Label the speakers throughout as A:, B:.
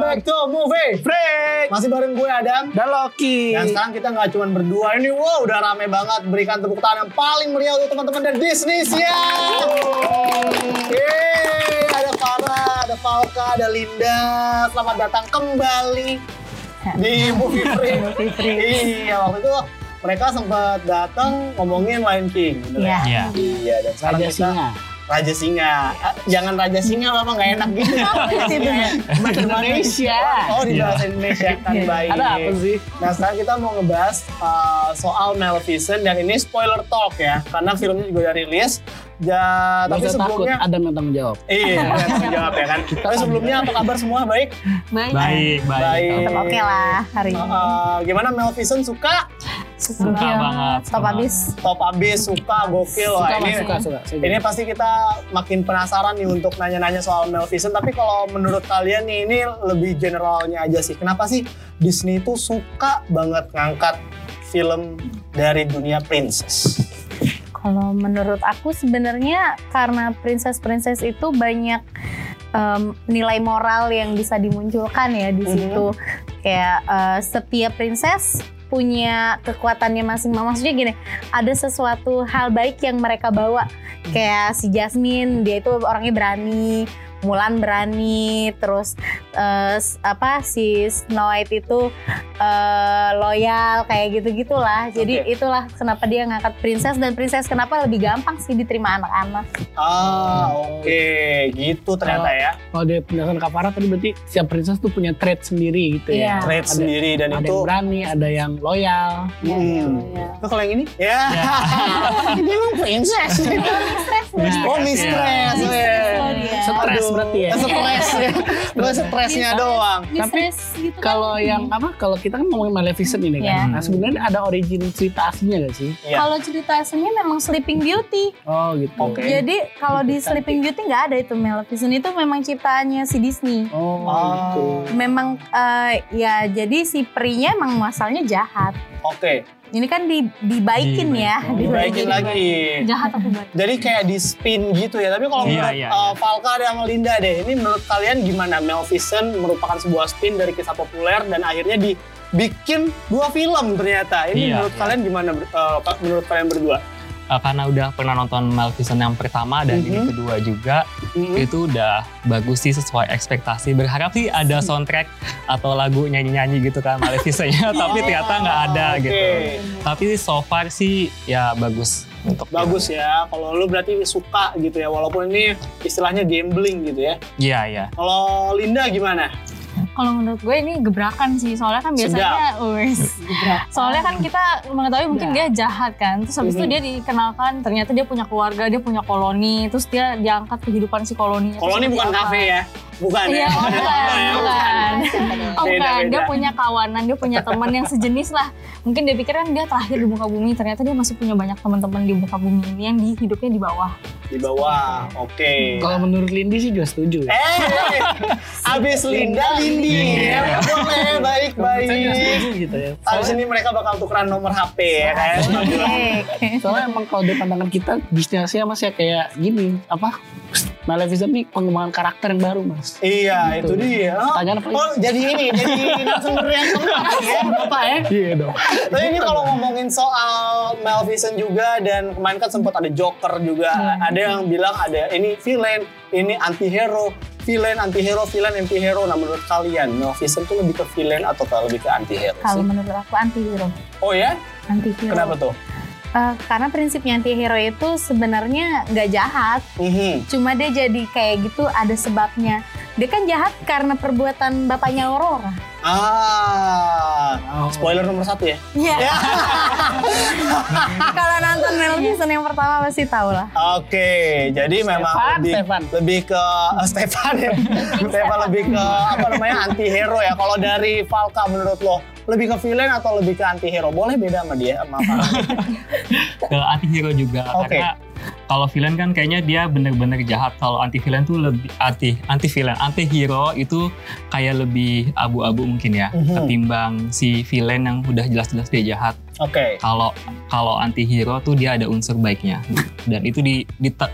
A: back to movie
B: Break.
A: Masih bareng gue Adam
B: Dan Loki.
A: Dan sekarang kita nggak cuma berdua ini Wow udah rame banget Berikan tepuk tangan yang paling meriah untuk teman-teman dari Disney ya Yeay Ada Farah, ada Falka, ada Linda Selamat datang kembali Di movie break
C: Movie Break.
A: Iya waktu itu mereka sempat datang ngomongin Lion King bener
C: Iya.
B: Iya.
A: Iya dan sekarang
D: Raja
A: kita
D: Singa.
A: Raja Singa. Ah, Jangan Raja Singa Bapak nggak enak gitu. Raja Singa.
D: Indonesia.
A: Oh di bahasa Indonesia kan
C: Iya.
A: baik.
D: Ada apa sih?
A: Nah sekarang kita mau ngebahas uh, soal Maleficent dan ini spoiler talk ya. Karena filmnya juga udah rilis. Ja, tapi
D: Gak usah takut,
A: sebelumnya
D: Adam yang tanggung jawab.
A: Iya, saya tanggung jawab ya kan. Tapi sebelumnya apa kabar semua baik?
C: Baik.
B: Baik, baik.
A: Baik.
C: Tetap oke lah hari
A: Uh,
C: ini.
A: uh, gimana Maleficent suka?
C: Suka
B: banget.
C: Stop habis.
A: Top abis, suka, gokil. Wah,
D: Suka,
A: ini
D: Mas, suka, suka. Saya
A: Ini
D: juga.
A: pasti kita makin penasaran nih untuk nanya-nanya soal Maleficent. Tapi kalau menurut kalian nih ini lebih generalnya aja sih. Kenapa sih Disney itu suka banget ngangkat film dari dunia princess?
C: Kalau menurut aku sebenarnya karena princess-princess itu banyak em, nilai moral yang bisa dimunculkan ya di
A: Mhm.
C: situ. Kayak eh, setiap princess punya kekuatannya masing-masing. Maksudnya gini, ada sesuatu hal baik yang mereka bawa. Kayak si Jasmine, dia itu orangnya berani. Mulan berani, terus eh, s- apa si Snow White itu eh, loyal kayak gitu-gitulah. Jadi
A: Oke.
C: itulah kenapa dia ngangkat princess dan princess kenapa lebih gampang sih diterima anak-anak.
A: Ah, oke, gitu ternyata ya.
D: Kalau dari penjelasan Kak Farah tadi berarti setiap princess tuh punya trait sendiri gitu ya.
C: Iya.
A: Trade
D: Ada-
A: sendiri dan
D: Ada
A: itu.
D: yang berani, ya? ada yang loyal.
C: Iya,
A: Hmm. Itu kalau yang ini? Ya. Dia emang
C: Iya.
A: princess.
D: Ya,
A: Oh, mistress.
C: Mistress
A: weh.
C: loh dia.
D: Stres
A: Aduh,
D: ya. berarti ya.
A: Stres ya. Dua stresnya doang.
D: Tapi
C: gitu
A: Iya.
C: kan.
D: Kalau yang apa? Kalau kita kan ngomongin Maleficent ini
C: Iya.
D: kan. Nah sebenarnya ada origin cerita aslinya gak sih?
A: Iya.
C: Kalau cerita aslinya memang Sleeping Beauty.
D: Oh gitu.
A: Oke.
C: Jadi kalau di Sleeping Beauty nggak ada itu Maleficent itu memang ciptaannya si Disney.
D: Oh, gitu.
A: Oh,
C: Memang eh, ya jadi si perinya emang masalnya jahat.
A: oke.
C: Ini kan di, dibaikin ya.
A: Dibaikin
C: Jadi
A: lagi.
C: Jahat aku baik.
A: Jadi kayak di spin gitu ya. Tapi kalau
B: Iya,
A: menurut
B: iya,
A: uh,
B: iya.
A: Valka dan Melinda deh, ini menurut kalian gimana? Maleficent merupakan sebuah spin dari kisah populer dan akhirnya dibikin dua film ternyata. Ini
B: Iya,
A: menurut
B: iya.
A: kalian gimana? uh, menurut kalian berdua?
B: Eh, karena udah pernah nonton Maleficent yang pertama dan ini
A: Mhm.
B: kedua juga
A: Hmm.
B: itu udah bagus sih sesuai ekspektasi berharap sih ada soundtrack atau lagu nyanyi-nyanyi gitu kan Maleficent-nya tapi ternyata nggak ada
A: Ah, Oke.
B: gitu tapi so far sih ya bagus untuk
A: Bagus ya. Kalau lu berarti suka gitu ya. Walaupun ini istilahnya gambling gitu ya.
B: iya iya
A: Kalau Linda gimana?
E: Kalau menurut gue ini gebrakan sih, soalnya kan biasanya wes. Soalnya kan kita mengetahui mungkin dia jahat kan, terus habis itu
A: Mhm.
E: dia dikenalkan ternyata dia punya keluarga, dia punya koloni, terus dia diangkat kehidupan si koloninya.
A: Kalau ini
E: Terus
A: bukan
E: seperti apa.
A: kafe ya. Bukan ya.
E: Iya, oh, bukan, bukan. Oh,
A: Beda,
E: bukan. Dia
A: beda.
E: punya kawanan, dia punya teman yang sejenis lah. Mungkin dia pikir kan dia terakhir di muka bumi, ternyata dia masih punya banyak teman-teman di muka bumi ini yang di hidupnya di bawah.
A: Di bawah. Oke.
D: Kalau menurut Lindy sih juga setuju ya.
A: Eh, abis Linda, Lindi. Ya, boleh,
D: Saya juga
A: baik-baik.
D: setuju gitu ya.
A: Abis ini mereka bakal tukeran nomor HP ya kan?
D: Soalnya emang kalau dari pandangan kita bisnisnya mas ya kayak gini apa Maleficent nih pengembangan karakter yang baru mas.
A: Iya, itu
D: Gitu.
A: dia. Oh,
D: Pertanyaan apa?
A: oh, jadi ini, jadi narasumber yang keempat ya, Bapak ya.
D: Iya dong.
A: Tapi ini kalau ngomongin soal Maleficent juga dan kemarin kan sempat ada Joker juga. Ada yang bilang ada ini villain, ini anti-hero, villain, anti-hero, villain, anti-hero. Nah menurut kalian Maleficent tuh lebih ke villain atau ke- lebih ke anti-hero sih?
C: Kalau menurut aku anti hero.
A: Oh ya?
C: Anti hero.
A: Kenapa tuh?
C: Eh, karena prinsipnya anti hero itu sebenarnya nggak jahat,
A: Mhm.
C: cuma dia jadi kayak gitu ada sebabnya. Dia kan jahat karena perbuatan bapaknya Aurora.
A: Ah,
D: Oh.
A: spoiler nomor satu ya?
C: Iya.
A: Ya.
C: Nah, Kalau nonton Maleficent yang pertama pasti tahu lah.
A: Oke, jadi memang
D: Stefan,
A: lebih
D: Stefan.
A: lebih ke eh, Stefan ya. Stefan lebih ke apa namanya anti hero ya. Kalau dari Falka menurut lo lebih ke villain atau lebih ke anti hero? Boleh beda sama dia sama Farah.
B: ke anti hero juga
A: Oke.
B: karena Kalau villain kan kayaknya dia bener-bener jahat. Kalau anti villain tuh lebih anti anti villain, anti hero itu kayak lebih abu-abu mungkin ya
A: Mhm.
B: ketimbang si villain yang udah jelas-jelas dia jahat.
A: Oke.
B: Kalau kalau anti hero tuh dia ada unsur baiknya dan itu di-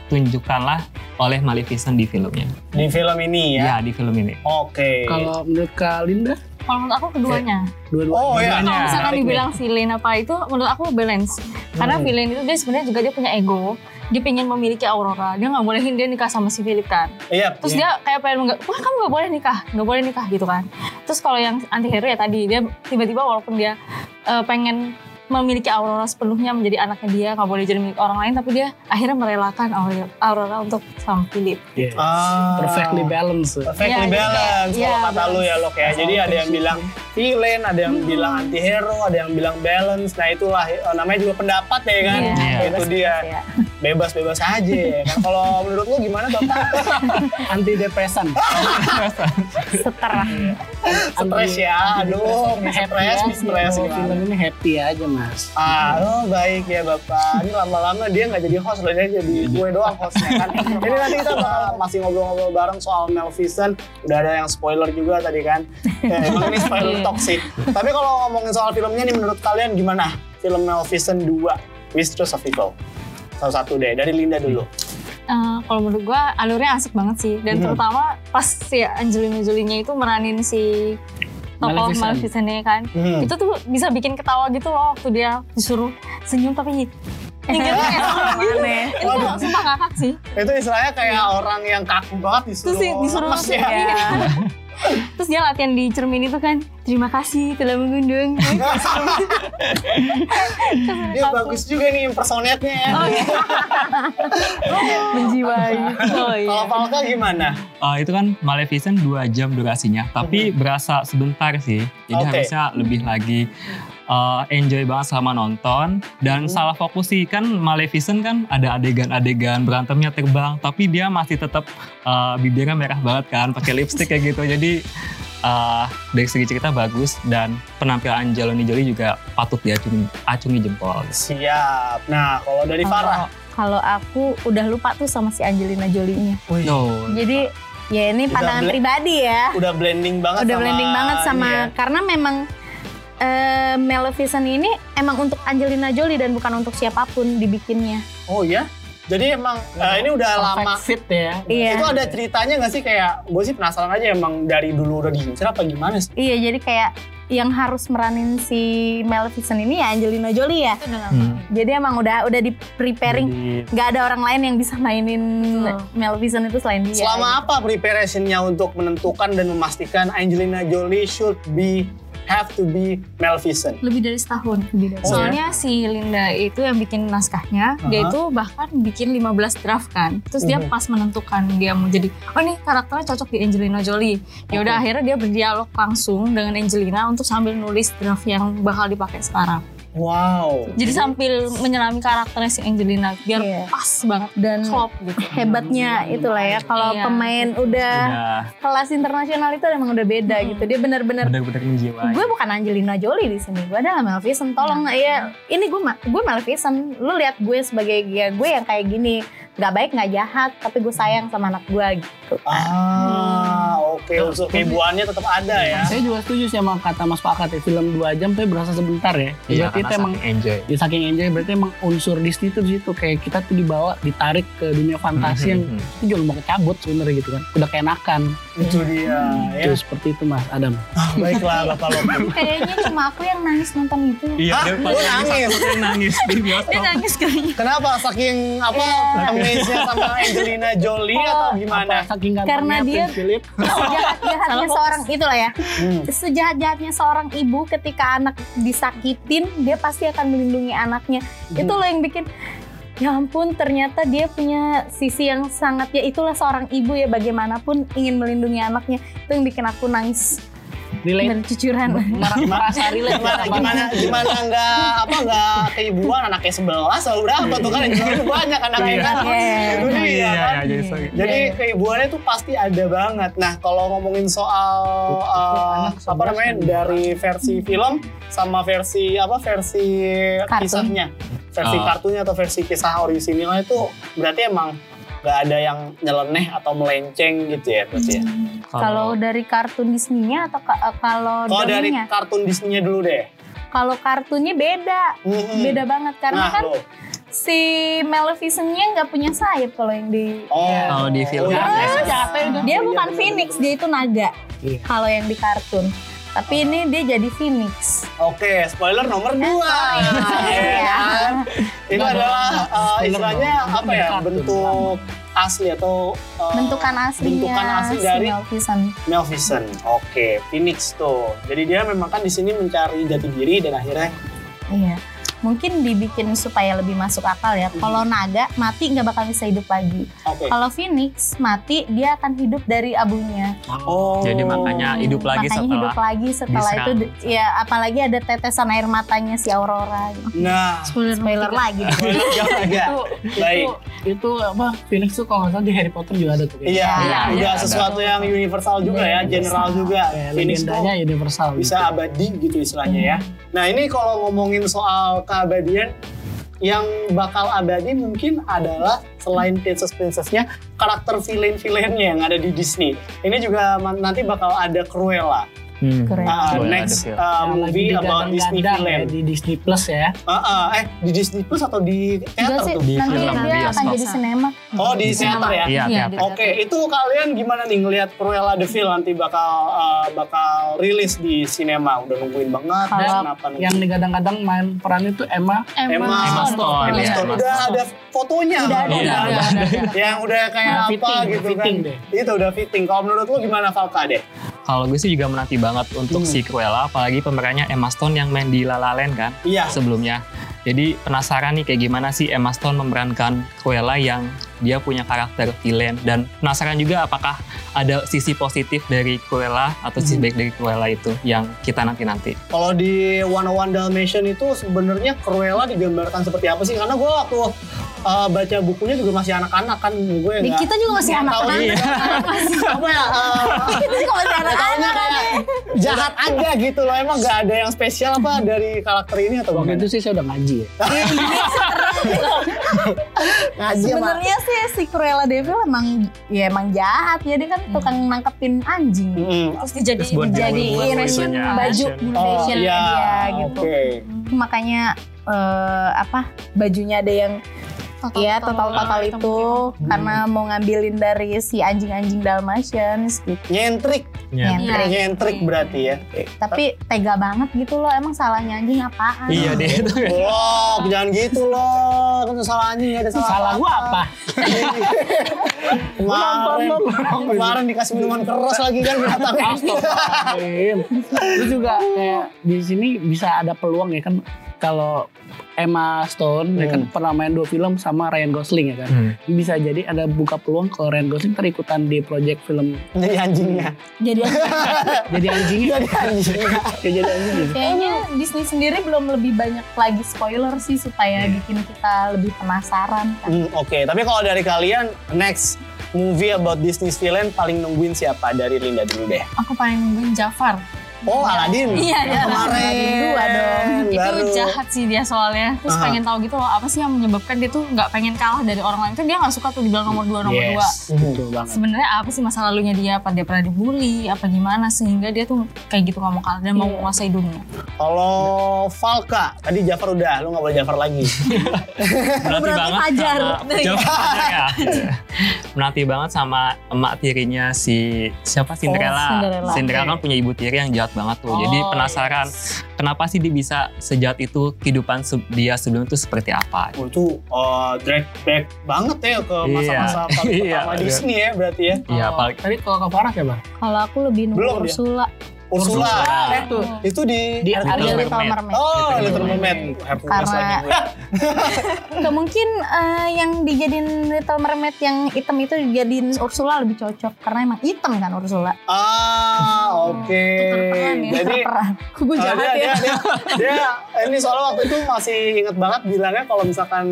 B: ditunjukkanlah oleh Maleficent di filmnya.
A: Di film ini ya.
B: Ya, di film ini.
A: Oke.
D: Kalau menurut Kak Linda,
E: Kalau menurut aku keduanya.
D: Eh, dua-dua.
A: Oh ya.
B: Iya,
E: Kalau misalkan
A: menarik
E: dibilang villain apa itu menurut aku balance. Karena
A: Hmm.
E: villain itu dia sebenarnya juga dia punya ego. Dia pengen memiliki Aurora. Dia nggak bolehin dia nikah sama si Philip kan.
A: Iya.
E: Terus
A: iya.
E: dia kayak pengen mengga- wah kamu nggak boleh nikah, nggak boleh nikah gitu kan. Terus kalau yang anti hero ya tadi dia tiba-tiba walaupun dia eh, pengen memiliki Aurora sepenuhnya menjadi anaknya dia nggak boleh jadi milik orang lain tapi dia akhirnya merelakan Aurora, Aurora untuk sang Philip.
D: Yes.
A: Ah.
D: Perfectly balanced.
A: Perfectly
E: Iya, jadi
A: balance
E: kayak-
A: kalau
E: iya,
A: kata lu ya lo ya. Jadi ada yang bilang villain, ada yang bilang anti hero, ada yang bilang balance. Nah itulah eh, namanya juga pendapat ya kan.
E: Iya,
A: Itu
E: bebas-bebas
A: dia
E: ya.
A: bebas-bebas aja. ya kan? Kalau menurut lu gimana bapak?
D: Anti depresan.
C: Seterah.
A: Stres ya, aduh, mi stres, ya, mi stres gitu. gimana?
D: ya, gitu. Film ini happy aja mas.
A: Ah, oh baik ya Bapak. Ini lama-lama dia nggak jadi host loh, dia jadi gue doang hostnya kan. Jadi nanti kita bakal masih ngobrol-ngobrol bareng soal Maleficent. Udah ada yang spoiler juga tadi kan. Ya, emang ini spoiler talk sih. Tapi kalau ngomongin soal filmnya nih menurut kalian gimana? Film Maleficent 2, Mistress of Evil. Salah satu deh, dari Linda dulu.
E: Eh, kalau menurut gua alurnya asik banget sih dan
A: Mhm.
E: terutama pas si Angelina Jolie-nya itu meranin si tokoh
D: Maleficent.
E: Maleficent-nya kan
A: Hmm.
E: itu tuh bisa bikin ketawa gitu loh waktu dia disuruh senyum tapi nyinggir kayak orang gitu. itu tuh sumpah ngakak sih
A: Itu istilahnya kayak orang yang kaku banget Iya. disuruh.
E: terus sih disuruh
A: lemes ya.
E: iya. terus dia latihan di cermin itu kan terima kasih telah mengundung
A: Dia bagus juga nih impersonate-nya ya.
C: Oh,
E: menjiwai oh iya
A: Kalau Falka gimana?
B: Eh, itu kan Maleficent 2 jam durasinya, tapi berasa sebentar sih. Jadi
A: Oke.
B: harusnya lebih lagi eh, enjoy banget sama nonton dan
A: Mhm.
B: salah fokus sih kan Maleficent kan ada adegan-adegan berantemnya terbang, tapi dia masih tetap eh, bibirnya merah banget kan, pakai lipstick kayak gitu. Jadi eh, dari segi cerita bagus dan penampilan Angelina Jolie juga patut diacungi acungi jempol.
A: Siap. Nah, kalau dari Farah.
C: Kalau- Kalau aku udah lupa tuh sama si Angelina Jolie-nya.
B: No.
C: Jadi ya ini
A: Udah
C: pandangan
A: bla-
C: pribadi ya.
A: udah blending banget
C: udah
A: sama
C: blending banget sama
A: ini ya.
C: karena memang eh, Maleficent ini emang untuk Angelina Jolie dan bukan untuk siapapun dibikinnya.
A: oh ya jadi emang eh, ini udah lama
D: Perfect fit ya.
C: Iya.
A: itu ada ceritanya nggak sih kayak gue sih penasaran aja emang dari dulu udah diincer apa gimana sih
C: Iya, jadi kayak yang harus meranin si Maleficent ini ya Angelina Jolie ya.
B: Hmm.
C: Jadi emang udah udah di preparing nggak ada orang lain yang bisa mainin
E: Betul.
C: Maleficent itu selain dia.
A: selama apa preparationnya untuk menentukan dan memastikan Angelina Jolie should be have to be Maleficent
E: lebih dari setahun
A: Oh,
C: Nah.
E: soalnya si Linda itu yang bikin naskahnya dia
A: Aha.
E: itu bahkan bikin 15 draft kan terus dia
A: Mhm.
E: pas menentukan dia mau jadi oh nih karakternya cocok di Angelina Jolie ya udah
A: Oke.
E: akhirnya dia berdialog langsung dengan Angelina untuk sambil nulis draft yang bakal dipakai sekarang
A: wow
E: jadi sambil menyelami karakternya si Angelina biar
C: Iya. Mhm.
E: pas banget
C: dan
E: klop gitu
C: hebatnya itulah ya kalau
E: Iya.
C: pemain udah
B: Udah
C: kelas internasional itu emang udah beda
E: Hmm.
C: gitu. Dia benar-benar
B: benar-benar menjiwai.
C: gue bukan Angelina Jolie di sini. Gue adalah Maleficent. Tolong
E: Hmm.
C: ya, ini gue ma- gue Maleficent. Lu lihat gue sebagai ya, gue yang kayak gini, nggak baik, nggak jahat, tapi gue sayang sama anak gue gitu.
A: ah oke
C: Hmm.
A: unsur keibuannya tetap ada ya
D: Saya juga setuju sih sama kata Mas Pakat ya, film 2 jam tapi berasa sebentar ya.
B: Iya,
D: berarti
B: karena
D: itu emang
B: saking enjoy.
D: ya saking enjoy berarti emang unsur Disney tuh di situ kayak kita tuh dibawa ditarik ke dunia fantasi yang
B: Mhm.
D: itu juga mau kecabut sebenarnya gitu kan. Udah keenakan.
C: Iya.
A: itu dia ya
D: Itu seperti itu Mas Adam.
A: baiklah bapak Loki
C: Kayaknya cuma aku yang nangis nonton itu.
B: Iya,
A: Hah?
B: dia pas
A: Lu
B: lagi
A: nangis?
B: sakitnya nangis di
E: dia
B: bioskop.
E: nangis kayaknya
A: Kenapa saking apa amazed-nya sama Angelina Jolie atau gimana?
D: Apa saking gantengnya
C: Karena dia-
D: Prince Philip
C: Sejahat-jahatnya
E: Salah fokus.
C: seorang itulah ya.
A: Hmm.
C: Sejahat-jahatnya seorang ibu ketika anak disakitin, dia pasti akan melindungi anaknya. Itu loh yang bikin Ya ampun, ternyata dia punya sisi yang sangat ya itulah seorang ibu ya bagaimanapun ingin melindungi anaknya. Itu yang bikin aku nangis
D: relate
C: bercucuran.
D: merasa relate
A: gimana
D: sama-
A: gimana gimana nggak apa nggak keibuan anaknya sebelas atau berapa tuh kan yang jualnya banyak anaknya kan Itu dia,
B: Iya,
A: kan?
B: iya, jadi sakit.
A: jadi keibuannya tuh pasti ada banget nah kalau ngomongin soal eh,
D: anak
A: apa namanya
D: 11
A: dari versi film sama versi apa versi
C: Hmm. Kartun.
A: kisahnya versi
B: Ah.
A: kartunya atau versi kisah orisinilnya itu berarti emang nggak ada yang nyeleneh atau melenceng gitu ya berarti ya.
C: Hmm. Kalau dari kartun Disney-nya atau ka- eh, kalau
A: Kalau dari
C: dongengnya?
A: kartun Disney-nya dulu deh.
C: Kalau kartunnya beda,
A: Mhm.
C: beda banget karena
A: Nah,
C: kan
A: loh.
C: si Maleficent-nya nggak punya sayap kalau yang di
A: Oh,
B: Kalau di film.
A: iya,
C: Terus,
A: iya.
C: dia
A: Oh, iya,
C: bukan
A: bener,
C: Phoenix,
A: bener.
C: dia itu naga.
A: Iya.
C: Kalau yang di kartun. Tapi ini dia jadi Phoenix.
A: Oke, spoiler nomor 2.
C: Eh, sorry. ya.
A: Itu
D: Nah,
A: adalah uh, istilahnya apa ya?
D: Kartun.
A: Bentuk asli atau uh,
C: Bentukan aslinya
A: bentukan asli dari
C: si Maleficent.
A: Maleficent. Oke, Phoenix tuh. Jadi dia memang kan di sini mencari jati diri dan akhirnya
C: Iya. Mungkin dibikin supaya lebih masuk akal
E: Mhm.
C: ya. Kalau naga mati nggak bakal bisa hidup lagi.
A: oke.
C: Kalau Phoenix mati dia akan hidup dari abunya.
A: Oh.
B: Jadi makanya hidup lagi
C: Makanya
B: setelah.
C: hidup lagi setelah
B: diserang.
C: itu d- ya apalagi ada tetesan air matanya si Aurora. gitu.
A: Nah,
E: Spoiler,
C: Spoiler lagi. nih.
A: spoiler jauh ya.
E: Itu,
A: Baik.
E: itu
D: Itu apa? Phoenix tuh kalau nggak salah di Harry Potter juga ada tuh.
A: Iya,
C: Iya,
A: udah
B: iya,
A: sesuatu yang universal juga ya, general juga.
D: Kayak
A: Phoenix tuh
D: Iya, legendanya universal.
A: bisa
D: gitu.
A: abadi gitu istilahnya ya. Nah ini kalau ngomongin soal keabadian, yang bakal abadi mungkin adalah selain princess princessnya karakter villain villainnya yang ada di Disney. Ini juga man- nanti bakal ada Cruella.
B: Hmm.
C: Keren.
A: Ah,
B: Cruella
A: next
B: ada, Phil.
A: uh,
D: Yang lagi
A: movie about Disney
D: digadang-gadang ya,
A: villain.
D: di Disney Plus ya.
A: Ah, ah, eh di Disney Plus atau di
C: Enggak sih,
A: teater tuh?
B: Di
C: nanti
B: film,
C: dia
B: di
C: akan
B: bioskop.
C: jadi sinema.
A: Oh di teater ya.
B: Iya,
E: Iya,
B: tiap.
E: di-
A: Oke, itu kalian gimana nih ngelihat Cruella the Vil nanti bakal uh, bakal rilis di sinema? Udah nungguin banget,
D: Kalau
A: terus kenapa nungguin?
D: Yang digadang-gadang main perannya tuh Emma
E: Emma, Iya,
A: Emma
B: Emma Stone,
A: Emma
B: ya.
A: Stone.
B: Emma
A: Iya, udah
B: Stone.
A: ada fotonya
C: Udah ada,
A: loh.
B: udah ada.
A: yang udah kayak
D: Udah
A: apa
D: fitting, udah
A: gitu
D: fitting
A: kan itu udah fitting kalau menurut lu gimana Falka deh
B: Kalau gue sih juga menanti banget
A: Hmm.
B: untuk si Cruella, apalagi pemerannya Emma Stone yang main di La La Land kan
A: iya
B: sebelumnya. Jadi penasaran nih kayak gimana sih Emma Stone memerankan Cruella yang dia punya karakter villain dan penasaran juga apakah ada sisi positif dari Cruella atau sisi
A: Hmm.
B: baik dari Cruella itu yang kita nanti-nanti.
A: kalau di 101 Dalmatian itu sebenarnya Cruella digambarkan seperti apa sih karena gue waktu uh, baca bukunya juga masih anak-anak kan gue
C: Di
A: nggak
C: kita juga masih
B: Iya.
A: nggak tahu
C: anak-anak.
A: juga. apa ya uh,
C: Kita juga masih
A: taunya
C: anak-anak.
A: kayak jahat aja gitu loh emang gak ada yang spesial apa dari karakter ini atau
D: Waktu
A: gimana?
D: itu sih saya udah ngaji ya.
A: ngaji sama
C: Sebenarnya sih si Cruella Devil emang ya emang jahat ya dia kan tukang nangkepin anjing.
A: Mm-mm.
E: terus dijadiin
B: buat
C: Dijadiin
B: buat
C: fashion
B: itunya,
C: baju
B: fashion.
C: buat
A: Oh
C: fashion
A: iya,
C: dia
A: oke.
C: gitu. Makanya eh, apa bajunya ada yang
E: total-
C: ya total-total
E: hitam
C: itu
E: putih.
C: karena mau ngambilin dari si anjing-anjing Dalmatians gitu.
A: Nyentrik,
B: Ya.
C: Nyentrik.
E: Iya.
A: nyentrik berarti ya.
C: Tapi tega banget gitu loh emang salahnya anjing
E: Ya.
C: apaan?
B: Iya deh itu.
A: Loh, jangan gitu loh. Kan salah anjing ada salah.
D: Salah gua apa?
A: Kemarin, kemarin dikasih minuman keras lagi kan binatang.
D: Astagfirullahaladzim. Lu juga kayak di sini bisa ada peluang ya kan kalau Emma Stone ya kan
A: Hmm.
D: pernah main dua film sama Ryan Gosling ya kan.
B: Hmm.
D: Bisa jadi ada buka peluang kalau Ryan Gosling terikutan di project film
A: Jadi anjingnya.
C: Jadi
D: jadi anjingnya
A: Jadi anjingnya.
D: kayak jadi anjing gitu.
C: kayaknya
E: iya.
C: Disney sendiri belum lebih banyak lagi spoiler sih supaya
B: Iya.
C: bikin kita lebih penasaran kan.
A: Hmm, Oke, tapi kalau dari kalian next movie about Disney villain paling nungguin siapa dari Linda dulu deh.
E: aku paling nungguin Jafar
A: Oh, Aladdin.
E: Iya, iya.
A: Kemarin
C: Aladdin dua dong.
A: Baru.
E: itu jahat sih dia soalnya terus
A: Aha.
E: pengen tahu gitu loh apa sih yang menyebabkan dia tuh nggak pengen kalah dari orang lain kan dia nggak suka tuh dibilang nomor dua nomor dua
D: Yes, betul Gitu banget.
E: sebenarnya apa sih masa lalunya dia apa dia pernah dibully apa gimana sehingga dia tuh kayak gitu nggak mau kalah dan mau menguasai dunia
A: Kalau Falka, tadi Jafar udah, lu nggak boleh Jafar lagi.
B: Menanti
C: Berarti
B: Eh, banget
C: Fajar. Iya.
B: sama Jawab Fajar ya. Menanti banget sama emak tirinya si siapa Cinderella.
C: Oh, Cinderella.
B: kan punya ibu tiri yang jahat banget tuh. Jadi
E: Oh,
B: penasaran kenapa sih dia bisa sejahat itu kehidupan se- dia sebelum itu seperti apa?
A: Oh, itu uh, drag back banget ya ke
B: Iya.
A: masa-masa paling
B: Iya,
A: pertama
B: iya.
A: Disney ya berarti ya.
B: Iya,
C: Oh.
D: Kalau-
B: paling-
D: Tadi Oh. kalau ke Farah siapa?
C: Kalau aku lebih
A: Belum
C: nunggu
A: dia.
C: Ursula.
A: Ursula.
B: Ursula.
A: Eh, itu di,
D: Nah, Di
C: Ariel
B: Little
C: Little
B: Mermaid.
C: Mermaid.
A: Oh, Little
B: Little
A: Mermaid. Happy
C: Karena-
A: lagi gue.
C: Gak Oh, mungkin eh, yang dijadiin Little Mermaid yang hitam itu dijadiin Ursula lebih cocok karena emang hitam kan Ursula.
A: Ah, oke.
B: Eh,
E: peran ya,
A: Jadi
C: Terperan. Gue
A: uh, dia,
C: jahat ya.
A: dia, dia, dia- ini soalnya waktu itu masih inget banget bilangnya kalau misalkan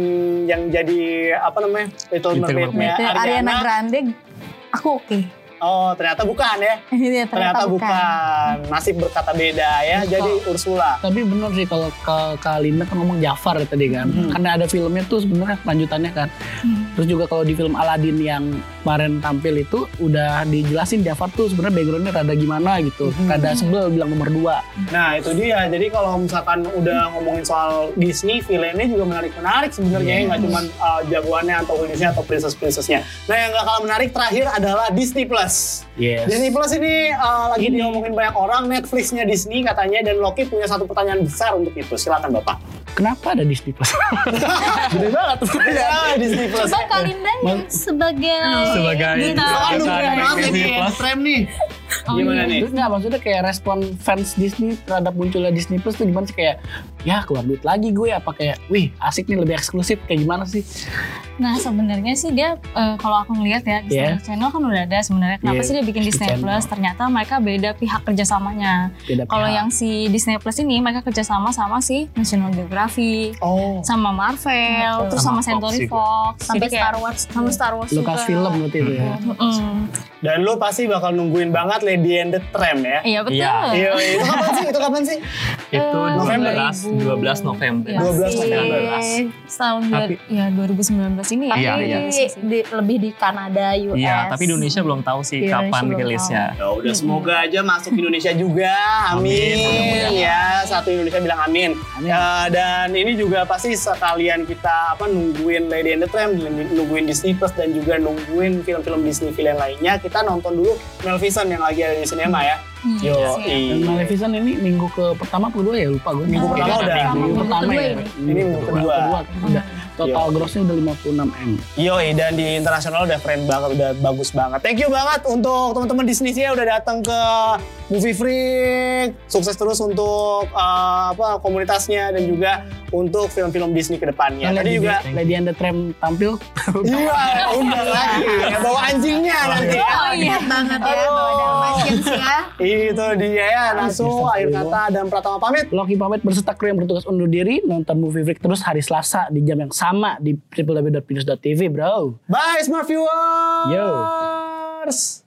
A: yang jadi apa namanya Little
B: Little
A: Mermaid-nya
C: Itu
A: Ariana,
C: Ariana Grande aku oke.
A: Oh ternyata bukan ya.
C: Iya,
A: Ternyata, bukan. Nasib berkata beda ya. Jadi Ursula.
D: Tapi bener sih kalau ke Kalina kan ngomong Jafar ya tadi kan.
A: Hmm.
D: Karena ada filmnya tuh sebenarnya lanjutannya kan. Terus juga kalau di film Aladdin yang kemarin tampil itu udah dijelasin Jafar tuh sebenarnya backgroundnya rada gimana gitu.
A: Hmm.
D: Rada sebel bilang nomor dua.
A: Nah itu dia. Jadi kalau misalkan udah ngomongin soal Disney, villainnya juga menarik-menarik sebenarnya. Nggak cuma uh, jagoannya atau Disney atau princess-princessnya. Nah yang gak kalah menarik terakhir adalah Disney Plus.
D: Yes.
A: Disney Plus ini uh, lagi diomongin banyak orang. Netflixnya Disney katanya dan Loki punya satu pertanyaan besar untuk itu. Silakan bapak.
D: Kenapa ada Disney Plus?
A: Gede banget. Ya, Disney Plus.
C: Coba Kalinda yang sebagai
B: Sebagai
C: bintang.
A: Soal lu
B: Bisa ada
A: maaf
B: Disney
A: ini
B: Plus.
A: frame nih.
D: Oh,
A: Gimana nih?
D: iya. Terus nggak maksudnya kayak respon fans Disney terhadap munculnya Disney Plus tuh gimana sih kayak ya keluar duit lagi gue apa kayak wih asik nih lebih eksklusif kayak gimana sih?
E: Nah sebenarnya sih dia eh, kalau aku ngelihat ya Disney Channel kan udah ada sebenarnya. Kenapa
D: Yeah,
E: sih dia bikin
D: Disney
E: Disney Plus?
D: Channel.
E: Ternyata mereka beda pihak kerjasamanya.
D: Beda
E: Kalau
C: Ya.
D: pihak.
E: yang si Disney Plus ini mereka kerjasama sama si National Geographic,
A: Oh.
E: sama Marvel,
C: Betul.
E: terus sama,
B: Sama Fox
E: Century
B: juga.
E: Fox,
C: sampai
E: Jadi kayak-
C: Star Wars sama Star Wars
D: Lukas film berarti itu
A: Mhm.
D: ya.
E: Mm,
A: Dan lu pasti bakal nungguin banget Lady and the Tramp ya.
E: Iya betul.
B: Iya.
A: Iya, itu kapan sih? Itu kapan sih?
C: Eh,
B: Itu
A: November.
B: 12 12 November.
E: Iya.
A: 12
C: Masih.
A: November.
C: Iya.
E: Setahun
B: Tapi-
E: dua- ya 2019 ini ya.
B: Iya,
C: Tapi
B: iya.
C: di- lebih di Kanada, US.
B: Iya, tapi Indonesia belum tahu sih
C: Indonesia
B: kapan
C: belum
B: rilisnya.
A: Ya udah semoga aja masuk Indonesia juga. Amin.
B: Amin, mudah-mudahan.
A: Ya, satu Indonesia bilang amin.
D: Amin.
A: Ya, dan ini juga pasti sekalian kita apa nungguin Lady and the Tramp, nungguin Disney Plus dan juga nungguin film-film Disney film lainnya. Kita nonton dulu Maleficent yang lagi ada di sinema ya.
E: Iya,
A: Yo,
C: iya.
D: Dan Maleficent ini minggu ke pertama apa kedua ya lupa gue.
A: Minggu
D: Ini
A: pertama udah.
D: Minggu
C: Minggu
D: pertama
C: kedua
D: ya.
C: ini.
A: Ini minggu kedua.
D: kan udah total grossnya udah 56 m.
A: Yoi, dan di internasional udah keren banget, udah bagus banget. Thank you banget untuk teman-teman Disney sih ya udah datang ke Movie Freak. Sukses terus untuk eh, apa komunitasnya dan juga untuk film-film Disney ke depannya.
D: Nah,
A: Iya, Tadi
D: Lady-
A: juga
D: Lady and the Tramp tampil.
A: Iya, udah lagi. Ya, bawa anjingnya nanti. ya.
E: Oh iya.
C: Lihat banget ya bahwa ada Dalmatians ya.
A: Itu dia ya, Nasu, akhir kata dan Pratama pamit.
D: Loki pamit berserta kru yang bertugas undur diri nonton Movie Freak terus hari Selasa di jam yang sama di www.pinus.tv bro.
A: Bye smart viewers.
D: Yo.
A: Yo.